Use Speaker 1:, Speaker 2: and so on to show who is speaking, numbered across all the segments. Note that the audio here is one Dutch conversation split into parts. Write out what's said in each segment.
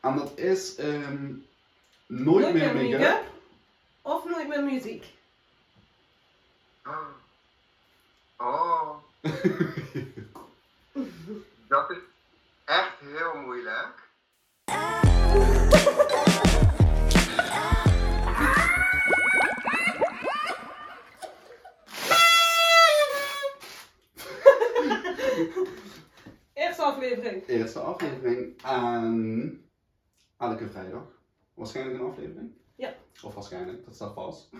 Speaker 1: En dat is ehm, nooit, meer make-up.
Speaker 2: of nooit meer muziek.
Speaker 3: Oh, dat is echt heel moeilijk.
Speaker 2: Eerste aflevering.
Speaker 1: Eerste aflevering aan elke vrijdag. Waarschijnlijk een aflevering.
Speaker 2: Ja.
Speaker 1: Of waarschijnlijk, dat staat vast.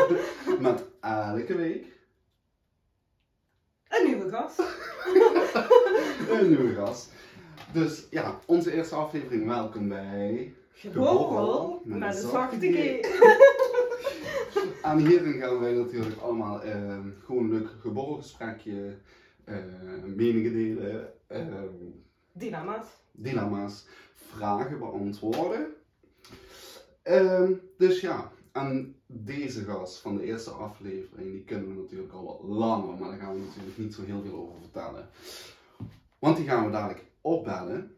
Speaker 1: Met elke week
Speaker 2: Een nieuwe gast.
Speaker 1: een nieuwe gast. Dus ja, onze eerste aflevering. Welkom bij.
Speaker 2: Geborrel met een zachte G.
Speaker 1: En hierin gaan wij natuurlijk allemaal eh, gewoon een leuk geborrelgesprekje, eh, meningen delen, eh,
Speaker 2: Dilemma's.
Speaker 1: dilemma's, vragen beantwoorden. Ehm, dus ja, en deze gast van de eerste aflevering, die kennen we natuurlijk al wat langer, maar daar gaan we natuurlijk niet zo heel veel over vertellen. Want die gaan we dadelijk opbellen.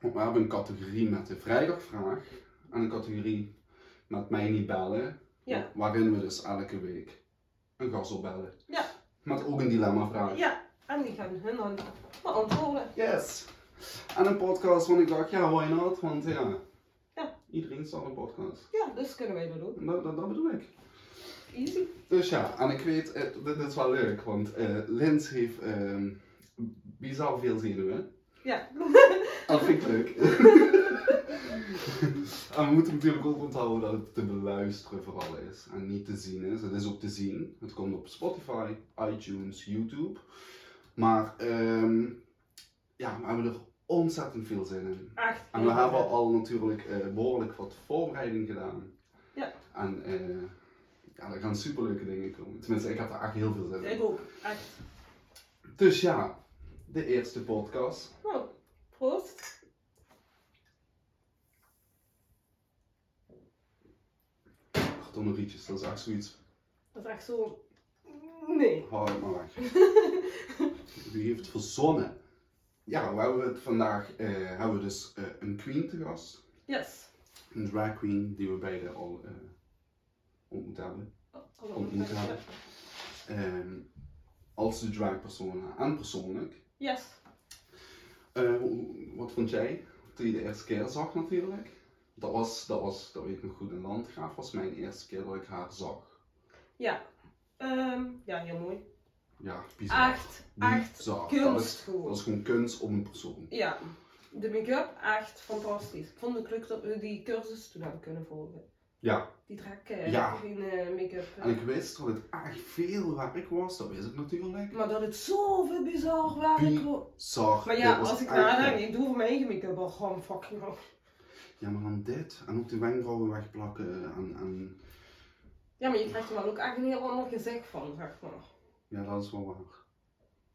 Speaker 1: Want we hebben een categorie met de vrijdagvraag en een categorie met mij niet bellen,
Speaker 2: Ja.
Speaker 1: waarin we dus elke week een gast opbellen.
Speaker 2: Ja.
Speaker 1: Met ook een dilemma vraag.
Speaker 2: Ja, en die gaan hun dan beantwoorden.
Speaker 1: Yes. En een podcast, want ik dacht, ja, why not? Want ja,
Speaker 2: Ja.
Speaker 1: iedereen staat een podcast.
Speaker 2: Ja, dus kunnen wij dat doen.
Speaker 1: En Dat, dat, dat bedoel ik.
Speaker 2: Easy.
Speaker 1: Dus ja, en ik weet, eh, dit dit is wel leuk, want eh Lens heeft ehm, bizar veel zenuwen.
Speaker 2: Ja.
Speaker 1: Dat vind ik leuk. en we moeten natuurlijk ook onthouden dat het te beluisteren vooral is en niet te zien is. Het is ook te zien. Het komt op Spotify, iTunes, YouTube. Maar ehm, ja, we hebben er ontzettend veel zin in.
Speaker 2: Echt.
Speaker 1: En we hebben al natuurlijk eh, behoorlijk wat voorbereiding gedaan.
Speaker 2: Ja.
Speaker 1: En eh, ja, er gaan superleuke dingen komen. Tenminste, ik heb er echt heel veel zin in.
Speaker 2: Ik ook. Echt.
Speaker 1: Dus ja, de eerste podcast.
Speaker 2: Nou, proost.
Speaker 1: Kartonnen rietjes, dat is echt zoiets.
Speaker 2: Dat is echt zo... Nee.
Speaker 1: Hou het maar weg. Wie heeft het verzonnen? Ja, we hebben het vandaag eh, hebben we dus eh, een queen te gast.
Speaker 2: Yes.
Speaker 1: Een drag queen die we beide al eh ontmoet hebben.
Speaker 2: Hallo.
Speaker 1: Ontmoet hebben. Ehm, als de drag persona en persoonlijk.
Speaker 2: Yes.
Speaker 1: Eh, hoe- wat vond jij toen je de eerste keer zag natuurlijk? Dat was, dat was, dat weet ik nog goed, een landgraaf was mijn eerste keer dat ik haar zag.
Speaker 2: Ja. Ehm, ja, heel mooi.
Speaker 1: Ja, bizar.
Speaker 2: Echt, echt
Speaker 1: Bizar. Dat
Speaker 2: kunst
Speaker 1: is, dat
Speaker 2: gewoon.
Speaker 1: is gewoon kunst op een persoon.
Speaker 2: Ja. De make-up, echt fantastisch. Ik vond het leuk dat we die cursus toen hebben kunnen volgen.
Speaker 1: Ja.
Speaker 2: Die draak eh,
Speaker 1: Ja.
Speaker 2: geen eh, make-up. eh.
Speaker 1: En ik wist dat het echt veel werk was, dat wist ik natuurlijk.
Speaker 2: Maar dat het zoveel bizar werk
Speaker 1: Die-
Speaker 2: was.
Speaker 1: Zag,
Speaker 2: Maar
Speaker 1: dit
Speaker 2: ja,
Speaker 1: was
Speaker 2: als ik
Speaker 1: echt-
Speaker 2: nadenk, ik doe voor mijn eigen make-up al gewoon fucking hard.
Speaker 1: Ja, maar dan dit. En ook de wenkbrauwen wegplakken. En, en
Speaker 2: Ja, maar je krijgt er wel ook echt een heel ander gezicht van, zeg maar.
Speaker 1: ja, dat is wel waar.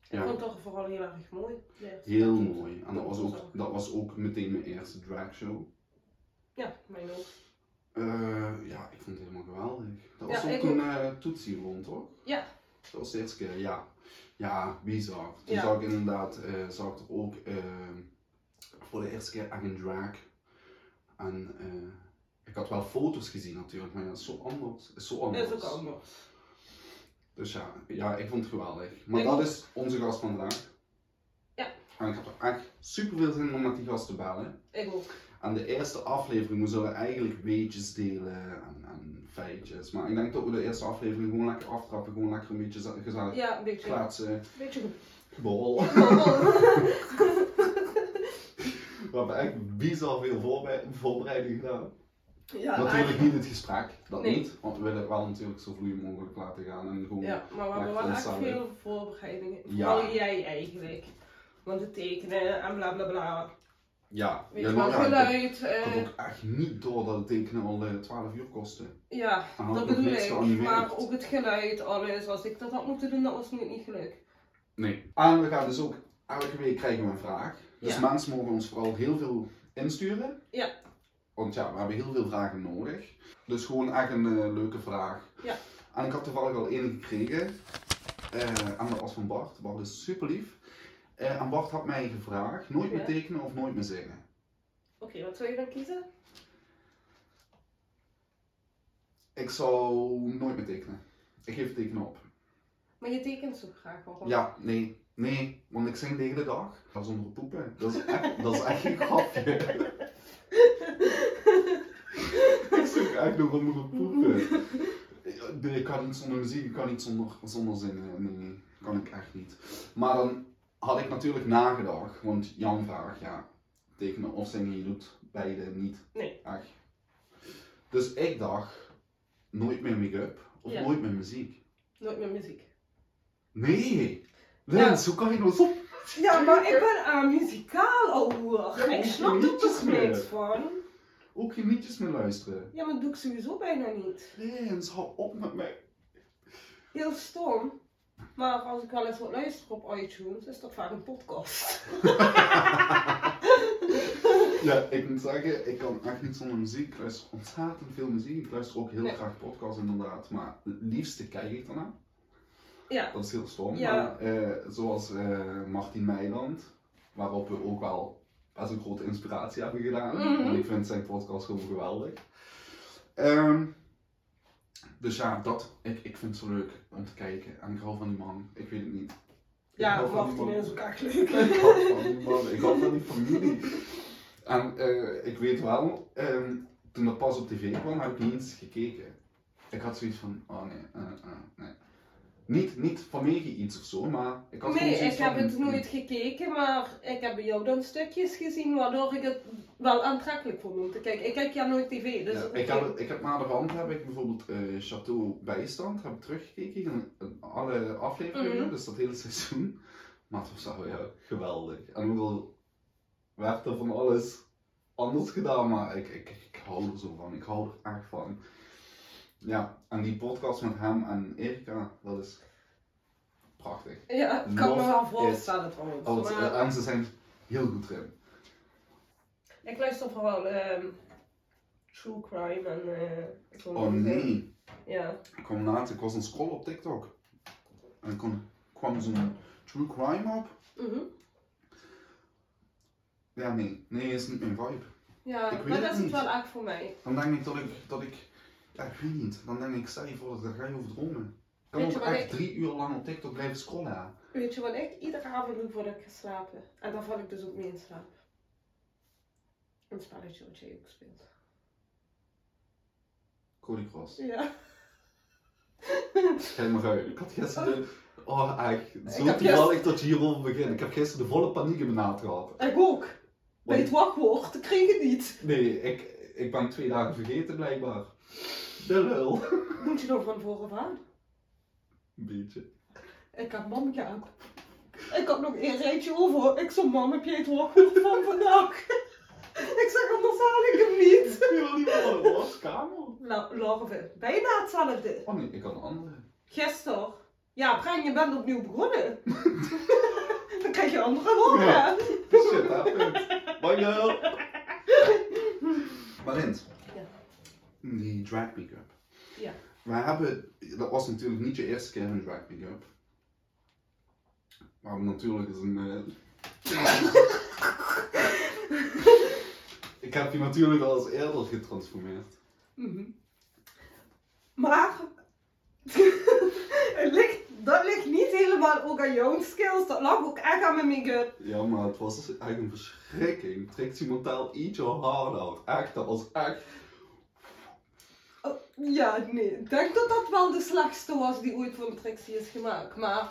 Speaker 2: Ik
Speaker 1: Ja,
Speaker 2: vond dat vooral heel erg mooi. Ja.
Speaker 1: heel mooi. En dat was ook, dat was ook meteen mijn eerste dragshow.
Speaker 2: Ja, mijn ook.
Speaker 1: Eh, ja, ik vond het helemaal geweldig. Dat was
Speaker 2: Ja,
Speaker 1: ook
Speaker 2: ik
Speaker 1: toen
Speaker 2: ook.
Speaker 1: eh Tootsie won, toch?
Speaker 2: Ja.
Speaker 1: Dat was de eerste keer, ja. Ja, bizar. Toen
Speaker 2: Ja.
Speaker 1: zag ik inderdaad eh, zag ik er ook eh, voor de eerste keer echt een drag. En eh, ik had wel foto's gezien natuurlijk, maar ja, het is zo anders. Het is zo
Speaker 2: Dat
Speaker 1: anders.
Speaker 2: is ook anders.
Speaker 1: Dus ja, ja, ik vond het geweldig. Maar
Speaker 2: Ik
Speaker 1: dat
Speaker 2: ook.
Speaker 1: is onze gast van vandaag.
Speaker 2: Ja.
Speaker 1: En ik heb er echt super veel zin in om met die gast te bellen.
Speaker 2: Ik ook.
Speaker 1: Aan de eerste aflevering, we zullen eigenlijk weetjes delen en, en feitjes. Maar ik denk dat we de eerste aflevering gewoon lekker aftrappen, gewoon lekker een beetje za- gezellig
Speaker 2: Ja, een beetje.
Speaker 1: kletsen,
Speaker 2: Een beetje goed.
Speaker 1: bol. We hebben echt bizar veel voorbe- voorbereiding gedaan.
Speaker 2: ja,
Speaker 1: Natuurlijk
Speaker 2: eigenlijk-
Speaker 1: niet het gesprek, dat
Speaker 2: Nee.
Speaker 1: niet. Want we willen het wel natuurlijk zo vloeiend mogelijk laten gaan en gewoon...
Speaker 2: Ja, maar we hebben
Speaker 1: Maakt
Speaker 2: wel echt
Speaker 1: ons samen.
Speaker 2: veel voorbereidingen.
Speaker 1: Ja.
Speaker 2: Vooral jij eigenlijk. Want het tekenen en bla bla bla.
Speaker 1: Ja,
Speaker 2: Weet
Speaker 1: ja,
Speaker 2: je
Speaker 1: maar
Speaker 2: wel,
Speaker 1: ja, ik had-
Speaker 2: geluid.
Speaker 1: ik
Speaker 2: eh,
Speaker 1: had ook echt niet door dat het tekenen al eh, 12 uur kostte.
Speaker 2: ja,
Speaker 1: En had
Speaker 2: dat
Speaker 1: ik nog
Speaker 2: bedoel
Speaker 1: niks
Speaker 2: ik.
Speaker 1: geanimeerd.
Speaker 2: Maar ook het geluid, alles. Als ik dat had moeten doen, dat was nu niet gelukt.
Speaker 1: Nee. En we gaan dus ook elke week krijgen we een vraag. Dus
Speaker 2: Ja.
Speaker 1: mensen mogen ons vooral heel veel insturen.
Speaker 2: Ja.
Speaker 1: Want ja, we hebben heel veel vragen nodig. Dus gewoon echt een eh, leuke vraag.
Speaker 2: Ja.
Speaker 1: En ik had toevallig al één gekregen. Eh en dat was van Bart. Bart Eh, is super lief. en Bart had mij gevraagd: nooit meer
Speaker 2: Ja.
Speaker 1: tekenen of nooit meer zingen.
Speaker 2: Oké, wat zou je dan kiezen?
Speaker 1: Ik zou nooit meer tekenen. Ik geef het tekenen op.
Speaker 2: Maar je tekent zo graag wel.
Speaker 1: Ja, nee, nee, want ik zing de hele dag. Dat is onder poepen. Dat is echt, dat is echt geen grapje. Ik zing echt nog onder poepen. Nee, ik kan niet zonder muziek, ik kan niet zonder, zonder zingen. Nee, nee, kan ik echt niet. Maar dan had ik natuurlijk nagedacht, want Jan vraagt ja, tekenen of zingen, je doet beide niet.
Speaker 2: Nee.
Speaker 1: Echt. Dus ik dacht, nooit meer make-up of
Speaker 2: Ja.
Speaker 1: nooit meer muziek.
Speaker 2: Nooit meer muziek.
Speaker 1: Nee,
Speaker 2: Ja.
Speaker 1: Lens, hoe kan je nou zo
Speaker 2: Ja, maar ik ben aan muzikaal ouwe.
Speaker 1: Ja,
Speaker 2: Ik snap er toch
Speaker 1: meer.
Speaker 2: niks van.
Speaker 1: ook geen liedjes meer luisteren.
Speaker 2: Ja, maar dat doe ik sowieso bijna niet.
Speaker 1: Lens, hou op met mij.
Speaker 2: Heel stom. Maar als ik wel eens wat luister op iTunes, is dat vaak een podcast.
Speaker 1: Ja, ik moet zeggen, ik kan echt niet zonder muziek. Ik luister ontzettend veel muziek. Ik luister ook heel
Speaker 2: Nee.
Speaker 1: graag podcasts inderdaad. Maar het liefste kijk ik daarna.
Speaker 2: Ja.
Speaker 1: Dat is heel stom.
Speaker 2: Ja.
Speaker 1: Maar, eh, zoals eh Martin Meiland, waarop we ook wel best een grote inspiratie hebben gedaan.
Speaker 2: Mhm.
Speaker 1: En ik vind zijn podcast gewoon geweldig. Ehm, dus ja, dat, ik, ik vind het zo leuk om te kijken. En ik hou van die man. Ik weet het niet. Ik
Speaker 2: Ja,
Speaker 1: hou van die
Speaker 2: wacht,
Speaker 1: man.
Speaker 2: die is ook echt leuk.
Speaker 1: Ik had van die man, ik had van die familie. En eh, ik weet wel, ehm, toen dat pas op tv kwam, heb ik niet eens gekeken. Ik had zoiets van, oh nee, eh, eh, nee. Niet, niet vanwege iets of zo, maar ik had gewoon
Speaker 2: Nee,
Speaker 1: zoiets
Speaker 2: ik heb
Speaker 1: van,
Speaker 2: het nooit gekeken, maar ik heb bij jou dan stukjes gezien waardoor ik het wel aantrekkelijk vond om te kijken. Ik kijk ja nooit tv, dus...
Speaker 1: Ja, ik, heb, het- ik heb naderhand heb ik bijvoorbeeld eh, Chateau Bijstand heb ik teruggekeken in, in alle afleveringen,
Speaker 2: Mhm.
Speaker 1: dus dat hele seizoen. Maar het was wel ja, geweldig. En hoewel werd er van alles anders gedaan, maar ik, ik, ik hou er zo van. Ik hou er echt van. Ja, en die podcast met hem en Erika, dat is prachtig.
Speaker 2: Ja, ik kan me
Speaker 1: Lof
Speaker 2: wel
Speaker 1: is
Speaker 2: voorstellen trouwens.
Speaker 1: Alles,
Speaker 2: maar-
Speaker 1: eh, en ze zijn heel goed erin.
Speaker 2: Ik luister vooral ehm, true crime en eh, zo'n
Speaker 1: Oh
Speaker 2: dingen.
Speaker 1: nee.
Speaker 2: Ja.
Speaker 1: Ik kwam laatst, ik was aan het scrollen op TikTok. En kon, kwam zo'n true crime op.
Speaker 2: Mhm.
Speaker 1: Ja, nee. Nee, is niet mijn vibe.
Speaker 2: Ja,
Speaker 1: Ik weet
Speaker 2: maar
Speaker 1: het
Speaker 2: dat is het
Speaker 1: niet.
Speaker 2: wel echt voor mij.
Speaker 1: Dan denk ik dat ik, dat ik, ja, ik weet niet. Dan denk ik, stel je voor, daar ga je over dromen. Ik kan
Speaker 2: Weet je
Speaker 1: ook
Speaker 2: wat
Speaker 1: echt
Speaker 2: ik-
Speaker 1: drie uur lang op TikTok blijven scrollen. ja.
Speaker 2: Weet je wat ik iedere avond doe voordat ik ga slapen? En dan val ik dus ook mee in slaap. Een spelletje wat jij ook speelt.
Speaker 1: Cody Cross.
Speaker 2: Ja.
Speaker 1: Kijk maar uit. Ik had gisteren, oh echt, zo
Speaker 2: heb
Speaker 1: toevallig dat je hierover begint. Ik heb gisteren de volle paniek in mijn naad gehad.
Speaker 2: Ik ook. Bij het
Speaker 1: Want-
Speaker 2: wachtwoord, ik kreeg het niet.
Speaker 1: Nee, ik, ik ben twee dagen vergeten blijkbaar. De lul.
Speaker 2: Moet je nog van voren aan?
Speaker 1: Een beetje.
Speaker 2: Ik heb mam gehad. Ik had nog een rijtje over. Ik zo, mam, heb jij het wachtwoord van vandaag? ik zeg, anders haal ik hem niet.
Speaker 1: Ik wil niet meer naar de waskamer.
Speaker 2: La- Larve, bijna hetzelfde.
Speaker 1: Oh nee, ik had een andere.
Speaker 2: Gisteren. Ja, Brian, je bent opnieuw begonnen. Dan krijg je andere woorden.
Speaker 1: Ja. Shit happened. Bye girl. Maar Rens,
Speaker 2: Ja.
Speaker 1: die drag pick-up.
Speaker 2: Ja.
Speaker 1: We hebben, dat was natuurlijk niet je eerste keer een drag pick-up. Maar natuurlijk is een... eh, ik heb je natuurlijk al eens eerder getransformeerd.
Speaker 2: Mhm. Maar het ligt, dat ligt niet helemaal ook aan jouw skills. Dat lag ook echt aan mijn make-up.
Speaker 1: Ja, maar het was echt een verschrikking. Trekt die mentaal ietsje harder uit. Echt, dat was echt...
Speaker 2: Oh, ja, nee. Ik denk dat dat wel de slechtste was die ooit van Trixie is gemaakt. Maar,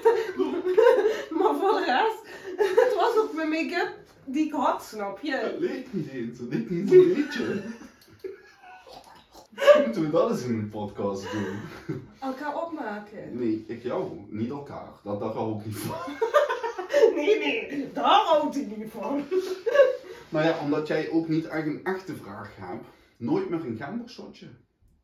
Speaker 2: maar voor de rest, het was ook mijn make-up die ik had, snap je?
Speaker 1: Het leek niet eens, het leek niet eens een liedje. Misschien Moeten we dat eens in een podcast doen?
Speaker 2: Elkaar opmaken.
Speaker 1: Nee, ik jou, niet elkaar. Dat daar hou ik niet van.
Speaker 2: Nee, nee, daar houdt hij niet van.
Speaker 1: Nou ja, omdat jij ook niet echt een echte vraag hebt, nooit meer een gembershotje.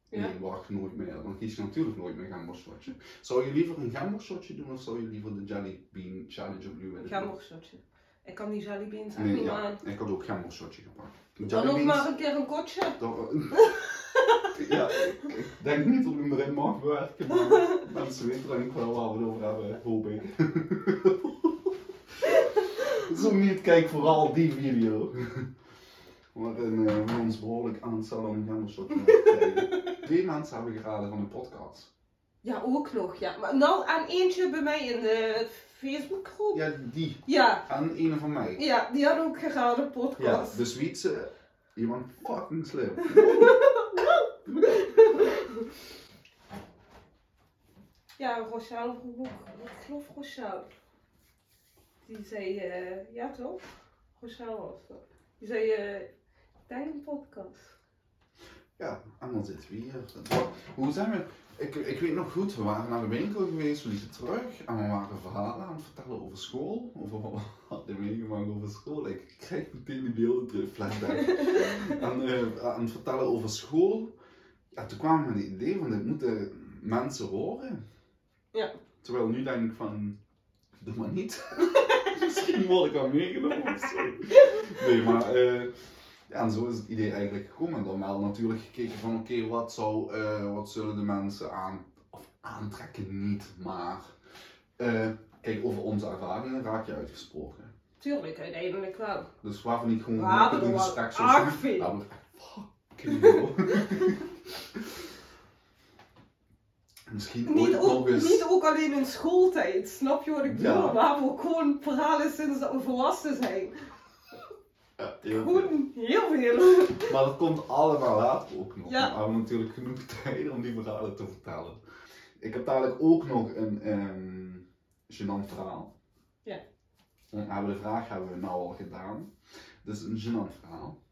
Speaker 2: Ja.
Speaker 1: Nee, wacht, nooit meer. Dan kies je natuurlijk nooit meer een gembershotje. Zou je liever een gembershotje doen of zou je liever de Jelly Bean Challenge op Blue
Speaker 2: Ik ga nog shotje. Ik kan die jellybeans echt
Speaker 1: Nee,
Speaker 2: niet
Speaker 1: ja,
Speaker 2: aan.
Speaker 1: ik had ook gembershotje gepakt.
Speaker 2: Dan ook
Speaker 1: Jellybeans-
Speaker 2: maar een keer een kotje.
Speaker 1: Toch, eh, ja, ik denk niet dat ik hem erin mag bewerken, maar mensen weten denk ik wel waar we het over hebben, hoop ik. Zo niet, kijk vooral die video. Waarin eh, we ons behoorlijk aan het Salon Jammershop krijgen. Twee mensen hebben geraden van de podcast.
Speaker 2: Ja, ook nog, ja. Maar nou, aan eentje bij mij in de Facebookgroep.
Speaker 1: Ja, die.
Speaker 2: Ja.
Speaker 1: En een van mij.
Speaker 2: ja, die had ook geraden
Speaker 1: Ja,
Speaker 2: podcast.
Speaker 1: dus Wietse, je bent fucking slim.
Speaker 2: Ja, Rochelle vroeg ook- ik geloof Rochelle. Die zei, eh, ja toch? Rochelle was dat. Die zei, eh, denk een podcast.
Speaker 1: Ja, en dan zitten we hier. Wat- Hoe zijn we? Ik, ik weet nog goed, we waren naar de winkel geweest, we liepen terug en we waren verhalen aan het vertellen over school. Over wat we hadden meegemaakt over school. Ik krijg meteen die beelden terug, flashback. en, eh, aan het vertellen over school. Ja, toen kwamen we met het idee van dit moeten mensen horen.
Speaker 2: Ja.
Speaker 1: Terwijl nu denk ik van, doe maar niet. Misschien word ik al meegenomen of zo. Nee, maar... eh, ja, en zo is het idee eigenlijk gekomen. Dan wel natuurlijk gekeken van oké, wat, zou, eh, wat zullen de mensen aan, of aantrekken niet, maar eh, kijk, over onze ervaringen raak je uitgesproken.
Speaker 2: Tuurlijk, uiteindelijk wel.
Speaker 1: Dus waarvan niet gewoon
Speaker 2: We
Speaker 1: makkelijk
Speaker 2: hebben er
Speaker 1: een
Speaker 2: wel
Speaker 1: gesprek zo
Speaker 2: erg
Speaker 1: snel-
Speaker 2: veel.
Speaker 1: Ja, maar echt fucking veel. Misschien
Speaker 2: Niet
Speaker 1: ooit
Speaker 2: ook,
Speaker 1: nog eens...
Speaker 2: niet ook alleen in schooltijd, snap je wat ik bedoel?
Speaker 1: Ja.
Speaker 2: We hebben ook gewoon verhalen sinds dat we volwassen zijn.
Speaker 1: Ja, eh, heel veel.
Speaker 2: Gewoon heel veel.
Speaker 1: Maar dat komt allemaal later ook nog.
Speaker 2: Ja.
Speaker 1: We hebben natuurlijk genoeg tijd om die verhalen te vertellen. Ik heb dadelijk ook nog een ehm gênant verhaal.
Speaker 2: Ja.
Speaker 1: Want we hebben de vraag hebben we nou al gedaan. Dus een gênant verhaal.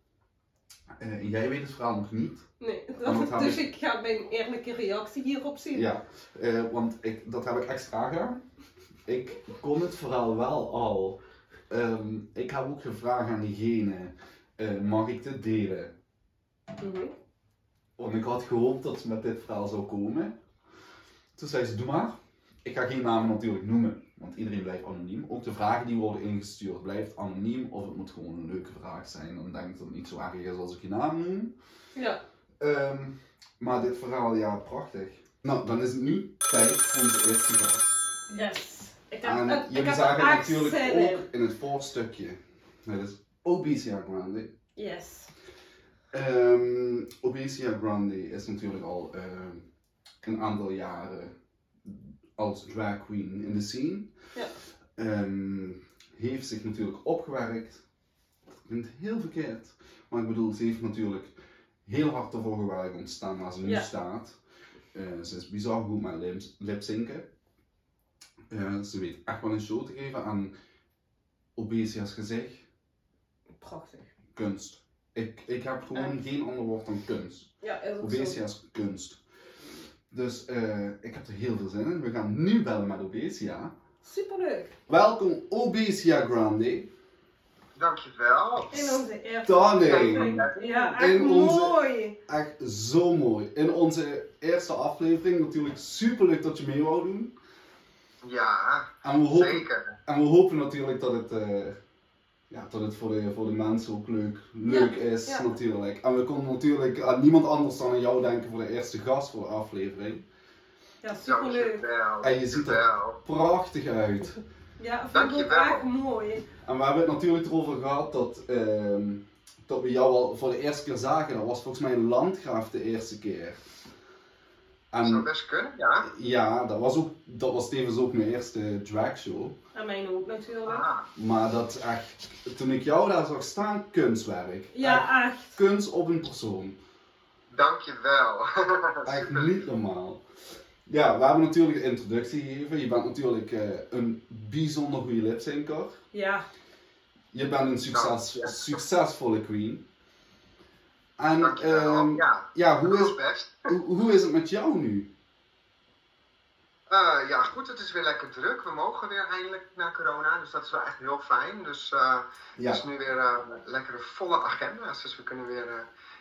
Speaker 1: Eh, jij weet het verhaal nog niet.
Speaker 2: Nee,
Speaker 1: Maar wat
Speaker 2: dat,
Speaker 1: gaan
Speaker 2: dus
Speaker 1: we-
Speaker 2: ik ga mijn eerlijke reactie hierop zien.
Speaker 1: Ja, eh, want ik, dat heb ik extra gedaan. Ik kon het verhaal wel al. Ehm, ik heb ook gevraagd aan diegene, eh, mag ik dit delen?
Speaker 2: Mhm.
Speaker 1: Want ik had gehoopt dat ze met dit verhaal zou komen. Toen zei ze, doe maar. Ik ga geen namen natuurlijk noemen, want iedereen blijft anoniem. Ook de vragen die worden ingestuurd blijft anoniem. Of het moet gewoon een leuke vraag zijn. Dan denk ik dat het niet zo erg is als ik je naam noem.
Speaker 2: ja.
Speaker 1: Ehm, maar dit verhaal, ja, prachtig. Nou, dan is het nu tijd voor onze eerste gast.
Speaker 2: Yes. Ik heb,
Speaker 1: En
Speaker 2: ik, ik
Speaker 1: jullie
Speaker 2: heb
Speaker 1: zagen
Speaker 2: er
Speaker 1: het
Speaker 2: echt
Speaker 1: natuurlijk
Speaker 2: zin in.
Speaker 1: ook in het voorstukje. Dat is Obesia Grande.
Speaker 2: Yes.
Speaker 1: Ehm Obesia Grande is natuurlijk al ehm, een aantal jaren als drag queen in de scene.
Speaker 2: Ja.
Speaker 1: Ehm, heeft zich natuurlijk opgewerkt. Dat klinkt heel verkeerd. Maar ik bedoel, ze heeft natuurlijk heel hard ervoor gewerkt om te staan waar ze nu
Speaker 2: Ja.
Speaker 1: staat. Eh, ze is bizar goed met lips- lipzinken. Eh, ze weet echt wel een show te geven aan Obesia's gezicht
Speaker 2: Prachtig.
Speaker 1: kunst. Ik, ik heb gewoon geen ander woord dan kunst.
Speaker 2: Ja, is ook zo.
Speaker 1: Obesia is kunst. Dus eh, ik heb er heel veel zin in. We gaan nu bellen met Obesia.
Speaker 2: Superleuk.
Speaker 1: Welkom Obesia Grande.
Speaker 3: Dankjewel.
Speaker 2: In onze eerste
Speaker 1: Stunning.
Speaker 2: aflevering. Ja, echt
Speaker 1: In onze-
Speaker 2: mooi.
Speaker 1: Echt zo mooi. In onze eerste aflevering natuurlijk super leuk dat je mee wou doen.
Speaker 3: Ja,
Speaker 1: En we hopen,
Speaker 3: zeker.
Speaker 1: en we hopen natuurlijk dat het, eh, ja, dat het voor, de, voor de mensen ook leuk, leuk is
Speaker 2: ja.
Speaker 1: natuurlijk. En we konden natuurlijk aan niemand anders dan aan jou denken voor de eerste gast voor de aflevering.
Speaker 2: Ja, superleuk.
Speaker 3: Dankjewel.
Speaker 1: En je ziet er-
Speaker 3: Dankjewel.
Speaker 1: prachtig uit.
Speaker 2: Ja, vond ik ook
Speaker 3: Dankjewel.
Speaker 2: echt mooi.
Speaker 1: En we hebben het natuurlijk erover gehad dat, ehm, dat we jou al voor de eerste keer zagen. Dat was volgens mij Landgraaf de eerste keer.
Speaker 3: Dat zou
Speaker 1: En
Speaker 3: best kunnen, ja.
Speaker 1: ja, dat was, ook, dat was tevens ook mijn eerste dragshow.
Speaker 2: En mijn ook natuurlijk.
Speaker 3: Ah,
Speaker 1: Maar dat echt, toen ik jou daar zag staan, kunstwerk. Echt
Speaker 2: Ja, echt.
Speaker 1: kunst op een persoon.
Speaker 3: dankjewel.
Speaker 1: Echt niet normaal. Ja, we hebben natuurlijk een introductie gegeven. Je bent natuurlijk eh, een bijzonder goede lipzinker.
Speaker 2: Ja,
Speaker 1: Je bent een succes,
Speaker 3: Nou, ja.
Speaker 1: succesvolle queen. En
Speaker 3: Dankjewel.
Speaker 1: ehm, ja.
Speaker 3: ja,
Speaker 1: hoe,
Speaker 3: dat is
Speaker 1: is,
Speaker 3: best.
Speaker 1: hoe, hoe is het met jou nu?
Speaker 3: Eh, ja, goed, het is weer lekker druk. We mogen weer eindelijk na corona, dus dat is wel echt heel fijn. Dus eh, het
Speaker 1: Ja,
Speaker 3: is nu weer eh, lekkere volle agenda's, dus we kunnen weer, eh,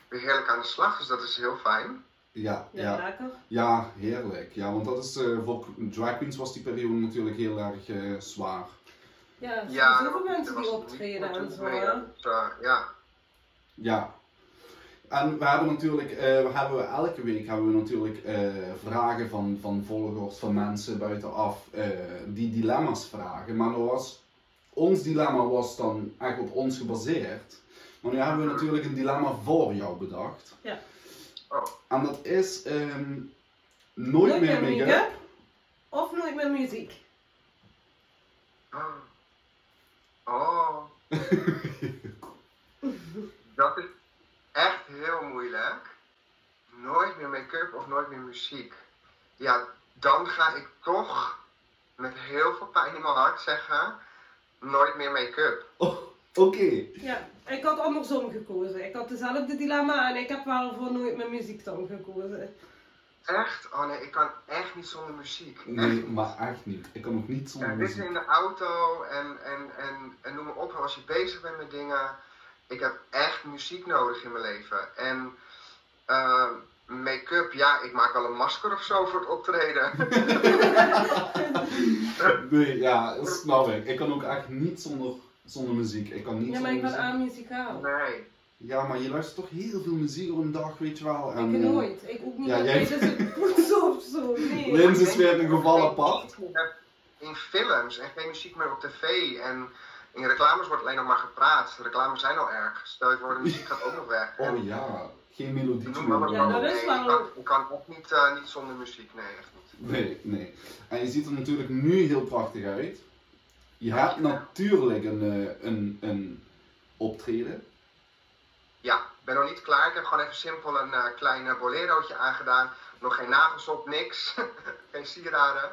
Speaker 3: weer heerlijk aan de slag, dus dat is heel fijn.
Speaker 1: ja,
Speaker 2: ja,
Speaker 1: ja.
Speaker 2: lekker.
Speaker 1: Ja, heerlijk. Ja, want dat is eh, voor drag queens was die periode natuurlijk heel erg eh, zwaar.
Speaker 2: Ja, er zijn
Speaker 3: dat-
Speaker 2: zoveel mensen
Speaker 3: dat
Speaker 2: die
Speaker 3: was niet
Speaker 2: optreden
Speaker 3: goed
Speaker 2: en
Speaker 3: te
Speaker 2: zo.
Speaker 3: doen, ja.
Speaker 2: hè.
Speaker 3: Dus, eh, ja,
Speaker 1: Ja. En we hebben natuurlijk, eh, we hebben we elke week hebben we natuurlijk eh, vragen van, van volgers, van mensen buitenaf, eh, die dilemma's vragen. Maar er was ons dilemma was dan echt op ons gebaseerd. Maar nu hebben we natuurlijk een dilemma voor jou bedacht.
Speaker 2: Ja.
Speaker 3: Oh.
Speaker 1: En dat is ehm, nooit, meer
Speaker 2: met
Speaker 1: make-up.
Speaker 2: make-up of nooit meer muziek.
Speaker 3: Oh. Oh, dat is echt heel moeilijk. Nooit meer make-up of nooit meer muziek. Ja, dan ga ik toch met heel veel pijn in mijn hart zeggen: nooit meer make-up.
Speaker 1: Oh, Oké.
Speaker 2: Ja, ik had andersom gekozen. Ik had dezelfde dilemma en ik heb wel voor nooit meer muziek dan gekozen.
Speaker 3: Echt? Oh nee, ik kan echt niet zonder muziek. Echt
Speaker 1: Nee,
Speaker 3: niet.
Speaker 1: maar echt niet. Ik kan ook niet zonder
Speaker 3: En dit in
Speaker 1: muziek.
Speaker 3: de auto en, en, en, en noem maar op, als je bezig bent met dingen. Ik heb echt muziek nodig in mijn leven. En ehm, make-up, ja, ik maak wel een masker of zo voor het optreden.
Speaker 1: Nee, ja, dat snap ik. Ik kan ook echt niet zonder, zonder muziek. Ik kan niet
Speaker 2: Ja, maar
Speaker 1: zonder
Speaker 2: ik ben
Speaker 1: muziek.
Speaker 2: aan
Speaker 1: Oh.
Speaker 2: muzikaal.
Speaker 3: Nee.
Speaker 1: Ja, maar je luistert toch heel veel muziek op een dag, weet je wel. En,
Speaker 2: Ik
Speaker 1: eh,
Speaker 2: nooit. Ik ook niet.
Speaker 1: Ja,
Speaker 2: Ja,
Speaker 1: jij-
Speaker 2: jij... Dit is het voedsel of zo. Nee.
Speaker 1: Lin- Dit is weer een gevallen pad.
Speaker 3: Ik heb In films en geen muziek meer op tv. En in reclames wordt alleen nog maar gepraat. De reclames zijn al erg. Stel je voor, de muziek gaat ook nog weg.
Speaker 1: Oh ja, geen melodie.
Speaker 3: Noem maar wat
Speaker 2: Ja,
Speaker 3: dan ook.
Speaker 2: dat is
Speaker 3: Nee,
Speaker 2: wel-
Speaker 3: ik kan- Ik kan ook niet, eh, niet zonder muziek, nee, echt niet.
Speaker 1: Nee, nee. En je ziet er natuurlijk nu heel prachtig uit. Je hebt natuurlijk een, eh, een, een optreden.
Speaker 3: Ja, ik ben nog niet klaar. Ik heb gewoon even simpel een eh, klein eh, bolerootje aangedaan. Nog geen nagels op, niks. geen sieraden.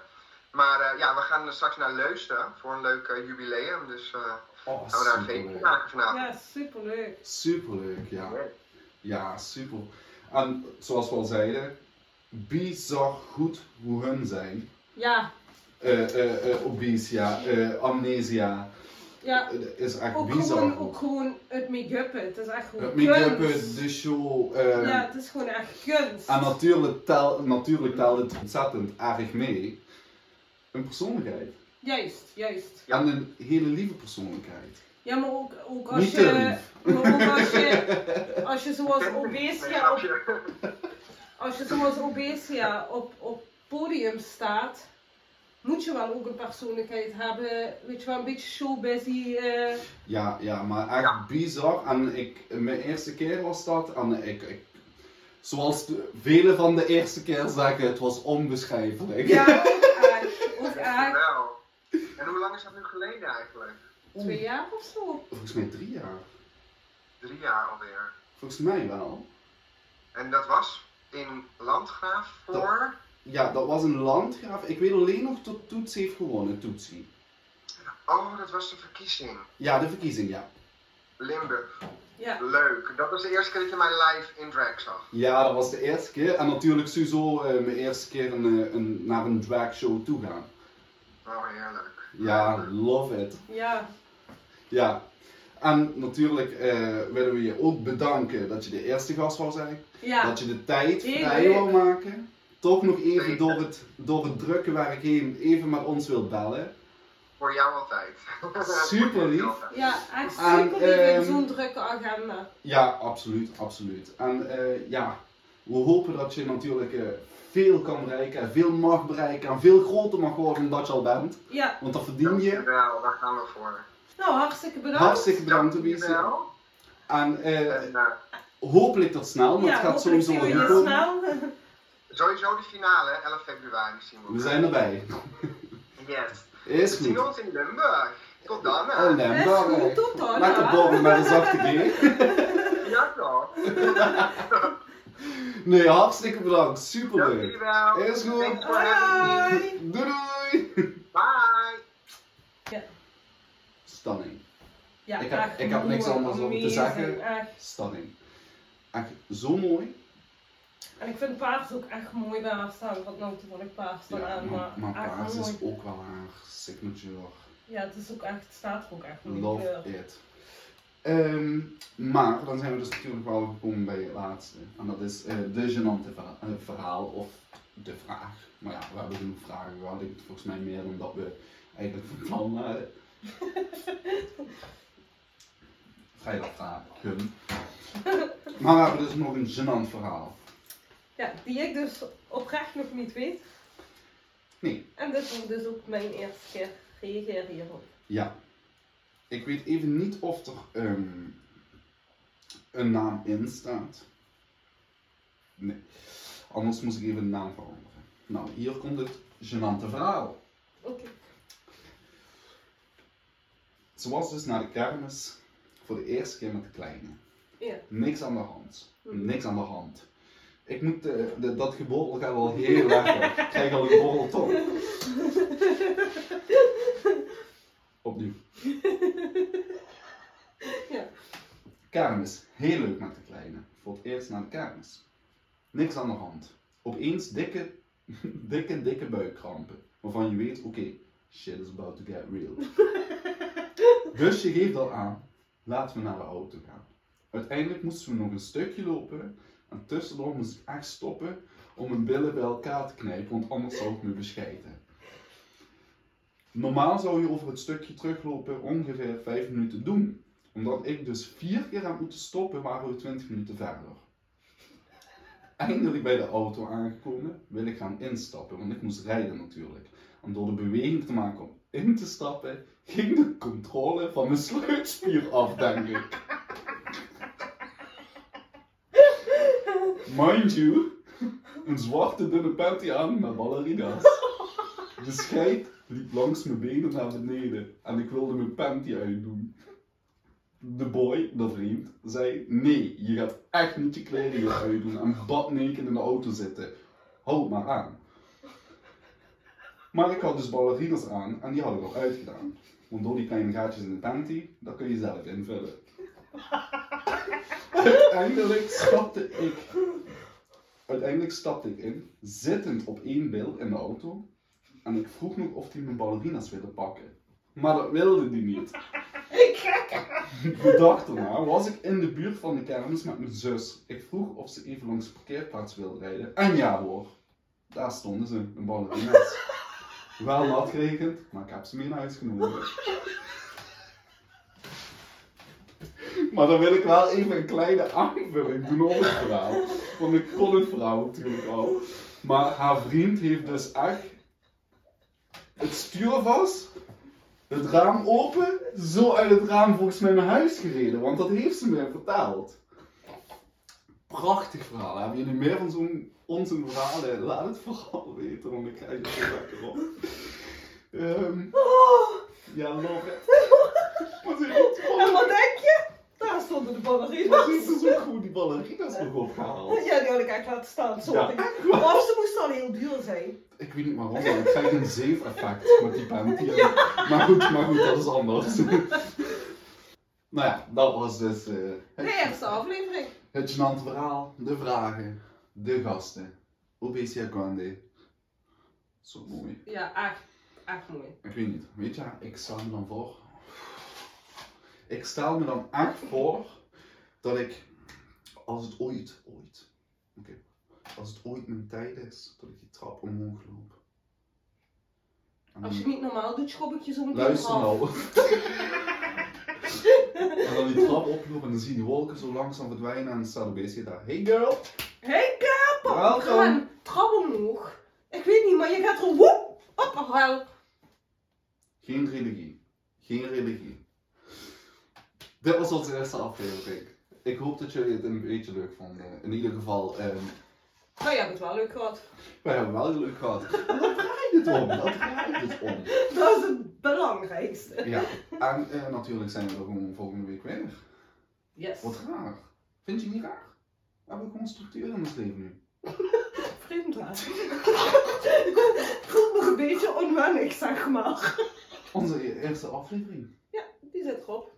Speaker 3: Maar eh, ja, we gaan eh, straks naar Leusden voor een leuk eh, jubileum. Dus eh,
Speaker 1: Oh,
Speaker 3: gaan we daar een feestje
Speaker 1: superleuk.
Speaker 3: maken vanavond.
Speaker 2: Ja, superleuk.
Speaker 1: Superleuk, ja. Ja, super. En zoals we al zeiden, bizar goed hoe hun zijn.
Speaker 2: Ja,
Speaker 1: Eh, eh, eh, obesia, eh, amnesia.
Speaker 2: ja.
Speaker 1: Het is echt
Speaker 2: Ook
Speaker 1: bizar.
Speaker 2: gewoon,
Speaker 1: goed.
Speaker 2: ook gewoon het make-up. Het is echt gewoon
Speaker 1: Het make-up,
Speaker 2: kunst.
Speaker 1: de show. eh,
Speaker 2: Ja, het is gewoon echt kunst.
Speaker 1: En natuurlijk, tel, natuurlijk telt het ontzettend erg mee. Een persoonlijkheid.
Speaker 2: Juist, juist.
Speaker 3: Ja.
Speaker 1: En een hele lieve persoonlijkheid.
Speaker 2: Ja, maar ook, ook als
Speaker 1: Niet te
Speaker 2: je... Maar ook als je, als je zoals
Speaker 3: Nee,
Speaker 2: Obesia op
Speaker 3: grapje.
Speaker 2: Als je zoals Obesia op, op podium staat, moet je wel ook een persoonlijkheid hebben. Weet je wel, een beetje showbusy. eh
Speaker 1: Ja, ja, maar echt
Speaker 3: Ja.
Speaker 1: bizar. En ik, mijn eerste keer was dat. En ik, ik zoals de- vele van de eerste keer zeggen, het was onbeschrijfelijk.
Speaker 2: ja, ook eigenlijk. Ook eigenlijk
Speaker 3: Wel. En hoe lang is dat nu geleden eigenlijk?
Speaker 2: twee jaar of zo.
Speaker 1: Volgens mij drie jaar.
Speaker 3: Drie jaar alweer.
Speaker 1: Volgens mij wel.
Speaker 3: En dat was in Landgraaf voor...
Speaker 1: Ja, dat was een landgraaf. Ik weet alleen nog dat Toets heeft gewonnen, Toetsie.
Speaker 3: Oh, dat was de verkiezing.
Speaker 1: Ja, de verkiezing, ja.
Speaker 3: Limburg.
Speaker 2: Ja,
Speaker 3: Leuk. Dat was de eerste keer dat je mij live in drag zag.
Speaker 1: Ja, dat was de eerste keer. En natuurlijk sowieso eh, mijn eerste keer een, eh, een, naar een dragshow toe gaan.
Speaker 3: Oh, heerlijk.
Speaker 1: Ja, love it.
Speaker 2: ja.
Speaker 1: Ja. En natuurlijk eh, willen we je ook bedanken dat je de eerste gast wou zijn.
Speaker 2: ja.
Speaker 1: Dat je de tijd
Speaker 2: Heel
Speaker 1: vrij
Speaker 2: leuk.
Speaker 1: wou maken. Toch nog even
Speaker 3: Zeker.
Speaker 1: door het, door het drukke werk heen even met ons wilt bellen.
Speaker 3: Voor jou altijd.
Speaker 1: Super lief.
Speaker 2: Ja, echt
Speaker 1: En,
Speaker 2: super lief
Speaker 1: ehm,
Speaker 2: in zo'n drukke agenda.
Speaker 1: Ja, absoluut, absoluut. En eh, ja, we hopen dat je natuurlijk eh, veel kan bereiken, veel mag bereiken en veel groter mag worden dan dat je al bent.
Speaker 2: Ja,
Speaker 1: Want dat verdien je.
Speaker 3: Dankjewel, daar gaan we voor.
Speaker 2: nou hartstikke bedankt.
Speaker 1: Hartstikke bedankt, Tobias.
Speaker 3: Dankjewel.
Speaker 1: En eh,
Speaker 3: En, eh,
Speaker 1: hopelijk tot snel, want
Speaker 2: ja,
Speaker 1: het gaat
Speaker 2: hopelijk
Speaker 1: sowieso
Speaker 2: zien
Speaker 1: wel
Speaker 2: we
Speaker 1: goed
Speaker 2: je
Speaker 1: komen.
Speaker 2: snel.
Speaker 3: sowieso de finale, hè, 11 februari zien we.
Speaker 1: We zijn erbij.
Speaker 3: Yes.
Speaker 1: Is
Speaker 3: We zien
Speaker 1: goed.
Speaker 3: ons in Limburg. Tot dan. hè.
Speaker 1: Oh, nee,
Speaker 2: Is
Speaker 1: maar,
Speaker 2: goed,
Speaker 1: eh,
Speaker 2: tot dan,
Speaker 1: Lekker
Speaker 2: hè.
Speaker 1: borrelen met een zachte G.
Speaker 3: Ja, toch.
Speaker 1: Nee, hartstikke bedankt. Superleuk.
Speaker 3: Dankjewel.
Speaker 1: Is goed.
Speaker 3: Thanks for having me.
Speaker 2: Hoi.
Speaker 1: Doei doei.
Speaker 3: Bye.
Speaker 1: Stunning.
Speaker 2: Ja,
Speaker 1: Ik heb-
Speaker 2: echt
Speaker 1: ik heb niks
Speaker 2: mooi,
Speaker 1: anders om te
Speaker 2: amazing,
Speaker 1: zeggen.
Speaker 2: echt.
Speaker 1: Stunning. Echt zo mooi.
Speaker 2: En ik vind paars ook echt mooi bij haar staan. Wat nou toevallig paars dan
Speaker 1: Ja,
Speaker 2: aan, eh, maar,
Speaker 1: maar, maar
Speaker 2: echt
Speaker 1: paars
Speaker 2: mooi.
Speaker 1: is ook wel haar signature.
Speaker 2: Ja, het is ook echt, het staat er ook echt in die kleur.
Speaker 1: Love it. Ehm, maar dan zijn we dus natuurlijk wel gekomen bij het laatste. En dat is eh, de genante verha- eh, verhaal of de vraag. Maar ja, we hebben genoeg vragen gehad. Ik volgens mij meer dan dat we eigenlijk van plan eh, waren. Vrijdag vragen. Maar we hebben dus nog een genant verhaal.
Speaker 2: Ja, die ik dus oprecht nog niet weet.
Speaker 1: Nee.
Speaker 2: En dit is dus ook mijn eerste keer reageer hierop.
Speaker 1: Ja. Ik weet even niet of er ehm, een naam in staat. Nee. Anders moest ik even de naam veranderen. Nou, hier komt het gênante verhaal.
Speaker 2: Oké.
Speaker 1: Ze was dus naar de kermis voor de eerste keer met de kleine.
Speaker 2: Ja.
Speaker 1: Niks aan de hand.
Speaker 2: Mhm.
Speaker 1: Niks aan de hand. Ik moet, eh, de- dat gebotel gaat al heel erg weg. Ik krijg al een gebotel toch. Opnieuw.
Speaker 2: Ja.
Speaker 1: Kermis. Heel leuk met de kleine. Voor het eerst naar de kermis. Niks aan de hand. Opeens dikke, dikke, dikke buikkrampen. Waarvan je weet, oké, shit is about to get real. Dus je geeft al aan, laten we naar de auto gaan. Uiteindelijk moesten we nog een stukje lopen en tussendoor moest ik echt stoppen om mijn billen bij elkaar te knijpen, want anders zou ik me bescheiden. Normaal zou je over het stukje teruglopen ongeveer 5 minuten doen. Omdat ik dus vier keer had moeten stoppen, waren we 20 minuten verder. Eindelijk bij de auto aangekomen, wil ik gaan instappen, want ik moest rijden natuurlijk. En door de beweging te maken om in te stappen, ging de controle van mijn sleutelspier af, denk ik. Mind you, een zwarte dunne panty aan met ballerina's. De scheid liep langs mijn benen naar beneden en ik wilde mijn panty uitdoen. De boy, de vriend, zei: Nee, je gaat echt niet je kleding hier uitdoen en badneken in de auto zitten. Houd maar aan. Maar ik had dus ballerinas aan en die hadden we al uitgedaan. Want door die kleine gaatjes in de panty, dat kun je zelf invullen. Uiteindelijk stapte ik. Uiteindelijk stapte ik in, zittend op één beeld in de auto. En ik vroeg nog of hij mijn ballerinas wilde pakken. Maar dat wilde hij niet. De dag daarna was ik in de buurt van de kermis met mijn zus. Ik vroeg of ze even langs de parkeerplaats wilde rijden. En ja hoor, daar stonden ze, een ballerina's. Wel nat gerekend, maar ik heb ze mee naar huis genomen. Maar dan wil ik wel even een kleine aanvulling doen op het verhaal. Want ik kon het verhaal natuurlijk al. Maar haar vriend heeft dus echt het stuur vast, het raam open, zo uit het raam volgens mij naar huis gereden. Want dat heeft ze mij vertaald. Prachtig verhaal. Hebben jullie meer van zo'n onzin verhalen? Laat het vooral weten, want ik krijg er zo lekker op. Ehm,
Speaker 2: Oh,
Speaker 1: ja, love it. Wat is dit?
Speaker 2: En wat denk je? Daar stonden de
Speaker 1: Dat is
Speaker 2: ballerina's.
Speaker 1: dus ook gewoon die ballerina's nog opgehaald.
Speaker 2: Ja, die had ik eigenlijk laten staan.
Speaker 1: Ja,
Speaker 2: Sorry.
Speaker 1: echt waar.
Speaker 2: Maar ze moesten al heel duur zijn.
Speaker 1: Ik weet niet waarom, maar ik krijg een zeef-effect met die panty. Maar goed, maar goed, dat is anders. nou ja, dat was dus eh,
Speaker 2: De
Speaker 1: het,
Speaker 2: eerste aflevering.
Speaker 1: het gênante verhaal, de vragen, de gasten. Obesia Grande. Zo mooi.
Speaker 2: Ja, echt. Echt mooi.
Speaker 1: Ik weet niet, weet je, ik stel me dan voor... Ik stel me dan echt voor dat ik, als het ooit, ooit, oké, als het ooit mijn tijd is, dat ik die trap omhoog loop. En
Speaker 2: Als je
Speaker 1: dan-
Speaker 2: niet normaal doet, schop ik je zo meteen
Speaker 1: Luister
Speaker 2: af.
Speaker 1: nou. en dan die trap oplopen en dan zie je die wolken zo langzaam verdwijnen en dan staat Obesia daar. Hey girl!
Speaker 2: Hey, kapot!
Speaker 1: Welkom.
Speaker 2: Trap omhoog. Ik weet niet, maar je gaat er woep! Op, wel.
Speaker 1: Geen religie. Geen religie. Dit was onze eerste aflevering. Ik hoop dat jullie het een beetje leuk vonden. In ieder geval, ehm,
Speaker 2: Nou, je hebt het wel leuk gehad.
Speaker 1: wij hebben wel geluk gehad. Maar Daar draait het om, daar draait het om.
Speaker 2: Dat is het belangrijkste.
Speaker 1: Ja, en eh, natuurlijk zijn we er gewoon volgende week weer.
Speaker 2: Yes.
Speaker 1: Wat raar. Vind je niet raar? We hebben gewoon structuur in ons leven nu.
Speaker 2: vreemd hè? Voelt nog een beetje onwennig, zeg maar.
Speaker 1: Onze e-, eerste aflevering.
Speaker 2: Die zit erop.